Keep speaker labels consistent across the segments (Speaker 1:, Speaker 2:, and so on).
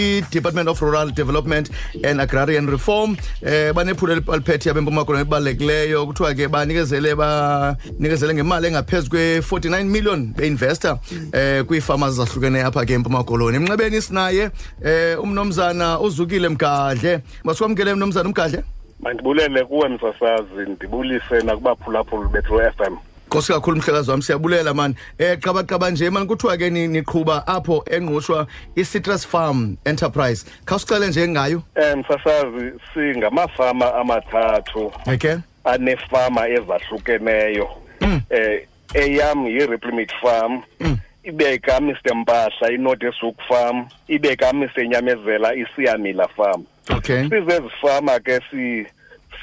Speaker 1: i-department of rural development and agrarian reform eh banephulo eliphethe yabempuma koloni elibalulekileyo kuthiwa ke banikezele banikezele ngemali engaphezu kwe-49 million beinvestor eh kwiifama ezahlukeneyo apha ke empuma koloni emnxebeni sinaye eh umnomzana uzukile mgadle masikwamkele mnomzana umgadle
Speaker 2: mandibulele kuwe msasazi ndibulise nakubaphulaphuli betro f m
Speaker 1: Nkosi kakhulu mhlekazi wami siyabulela man. Eh qaba qaba nje man kuthiwa ke ni- niqhuba apho engqushwa i-Citrus Farm Enterprise. Khawusicele nje ngayo.
Speaker 2: um msasazi singamafama amathathu
Speaker 1: Okay.
Speaker 2: anefama ezahlukeneyo um eyam yi-replimit farm ibe kamr mpahla inodesuk farm ibe kamr nyamezela isiamila farm
Speaker 1: Okay.
Speaker 2: sizezifama ke si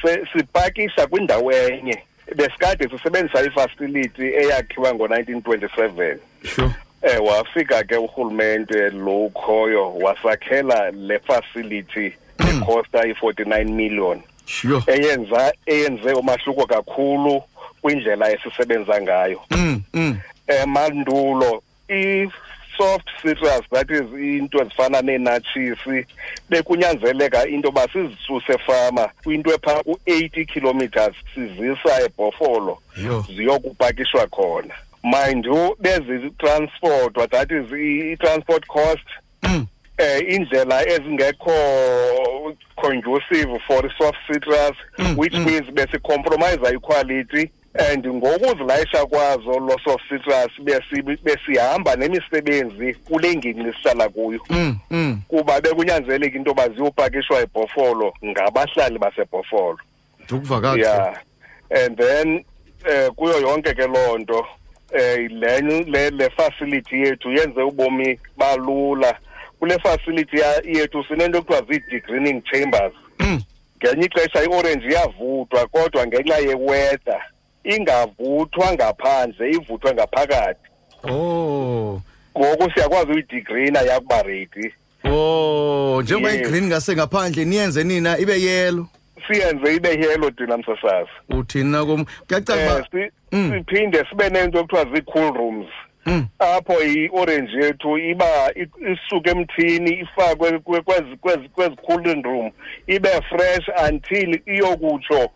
Speaker 2: se- sipakisha kwindawo enye besikade sisebenzisa ifacility eyakhiwa ngo-1927
Speaker 1: Sure.
Speaker 2: eh wafika ke urhulumente lo ukhoyo wasakhela le facility ekhosta i-49 million
Speaker 1: Sure.
Speaker 2: eyenza eyenze umahluko kakhulu kwindlela esisebenza ngayo
Speaker 1: Mm mm.
Speaker 2: emandulo i-soft citrus that is into ezifana neenatshisi bekunyanzeleka into yoba sizisuse fama kwinto ephaa ku-80 kilometers sizisa ebhofolo
Speaker 1: Yho.
Speaker 2: ziyokupakishwa khona mind you bezitransportwa that is i- i-transport cost
Speaker 1: Mm.
Speaker 2: eh indlela ezingekho conducive for soft citrus which means bese compromise iquality and ngokuzilayisha kwazo lo soft citrus besi besihamba nemisebenzi kule ngingqi sihlala kuyo
Speaker 1: Mm mm.
Speaker 2: kuba bekunyanzeleka into yoba ziyopakishwa ebhofolo ngabahlali basebhofolo
Speaker 1: Ndukuvakala.
Speaker 2: yeah and then eh kuyo yonke ke lonto eh le le- le facility yethu yenze ubomi balula kule facility ya- yethu sinento ekuthiwa zii-degreening chambers
Speaker 1: Mm.
Speaker 2: ngenye ixesha iorenji iyavuthwa kodwa ngenxa yewetha ingavuthwa ngaphandle ivuthwe ngaphakathi
Speaker 1: Oh.
Speaker 2: ngoku siyakwazi uyidigrina yakuba redi
Speaker 1: Oh, njengoba
Speaker 2: Yes.
Speaker 1: igreen ngase ngaphandle niyenze nina ibe yellow.
Speaker 2: siyenze ibe yelo dina msasazi
Speaker 1: Uthina kum. Kuyacaca
Speaker 2: Eh,
Speaker 1: uba-
Speaker 2: si-
Speaker 1: Mm.
Speaker 2: siphinde sibe nento ekuthiwa zii-cool rooms
Speaker 1: Mm.
Speaker 2: apho i-orange yethu iba i- isuke emthini ifakwe kwe- kwezi- kwezi kwezi cooling room ibe fresh until iyokutsho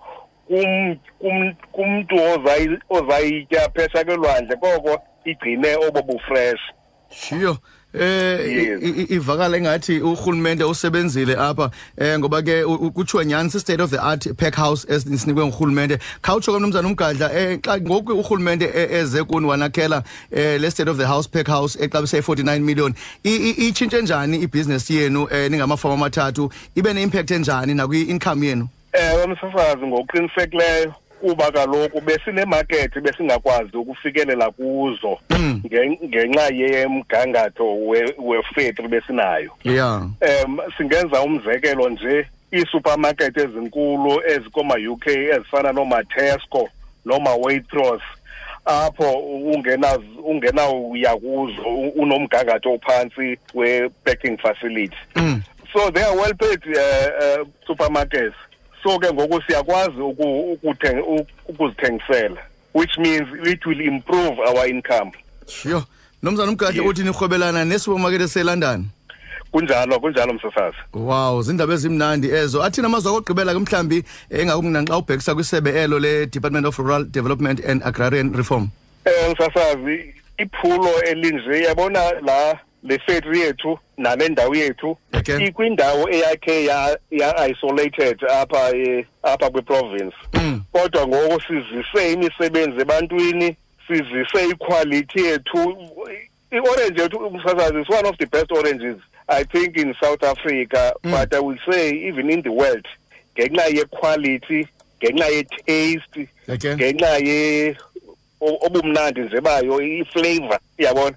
Speaker 2: kum- kum- kumntu ozayi- ozayitya phesha kwelwandle koko igcine obo bufresh
Speaker 1: Shiyo. Eh
Speaker 2: Yes.
Speaker 1: i- i- ivakala engathi uhulumende usebenzile apha eh ngoba ke u- u- kutshiwo nyani si state of the art pack house esinikwe ngurhulumente khawutsho ke mnumzana umgadla eh xa ngoku urhulumente e- eze kuni wanakhela eh le state of the house pack house exabise 49 million I- i- itshintshe njani ibhizinesi yenu eh ningamafama amathathu ibe neimpact enjani nakwi-income yenu
Speaker 2: ewe msasazi Eh, ngokuqinisekileyo kuba kaloku besineemarkethi besingakwazi ukufikelela kuzo ngen- ngenxa yemgangatho we- wefetri besinayo
Speaker 1: yeah
Speaker 2: um singenza umzekelo nje iisupermarket ezinkulu ezikooma-uk ezifana noomatesco nooma-waitrose apho ungena ungenawuya kuzo u- unomgangatho ophantsi we-packing facility so they are well paid uh, uh, supermarkets so ke ngoku siyakwazi uku- ukuthe- u- ukuzithengisela which means it will improve our income
Speaker 1: shiyo mnumzana umgadla uthi nirhwebelana nesupermarket eselondon
Speaker 2: kunjalo kunjalo msasazi
Speaker 1: Wow, zindaba ezimnandi ezo. Athina amazwi okugqibela ke mhlambi engakumnandi xa ubhekisa kwisebe elo le Department of Rural Development and Agrarian Reform.
Speaker 2: eh msasazi iphulo elinje yabona la le factory yethu nale ndawo yethu
Speaker 1: Okay.
Speaker 2: ikwindawo eyakhe ya, ya isolated apha eh, apha kwiprovince
Speaker 1: Mm.
Speaker 2: kodwa ngoku sizise imisebenzi ebantwini sizise iquality yethu i-orange yethu msasazi is one of the best oranges i think in south africa
Speaker 1: Mm.
Speaker 2: but i will say even in the world ngenxa yequality ngenxa yetaste
Speaker 1: Okay.
Speaker 2: ngenxa ye o- obumnandi nje bayo i-flavor yabona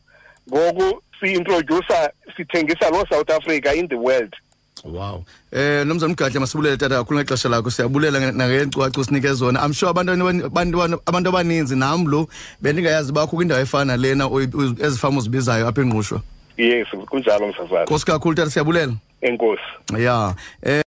Speaker 2: ngoku si-introducer sithengisa lo south africa in the world
Speaker 1: Wow. Eh nomzana Mgadla masibulele tata kakhulu ngexesha lakho. Siyabulela nangencwacu sinike zona. I'm sure abantu abani- abantu abantu abaninzi nam lo bendingayazi bakho kwindawo efana lena oy- uz- ezifama uzibizayo apha engqushwa.
Speaker 2: yes kunjalo msazana
Speaker 1: Nkosi kakhulu tata siyabulela.
Speaker 2: enkosi
Speaker 1: Yeah. Eh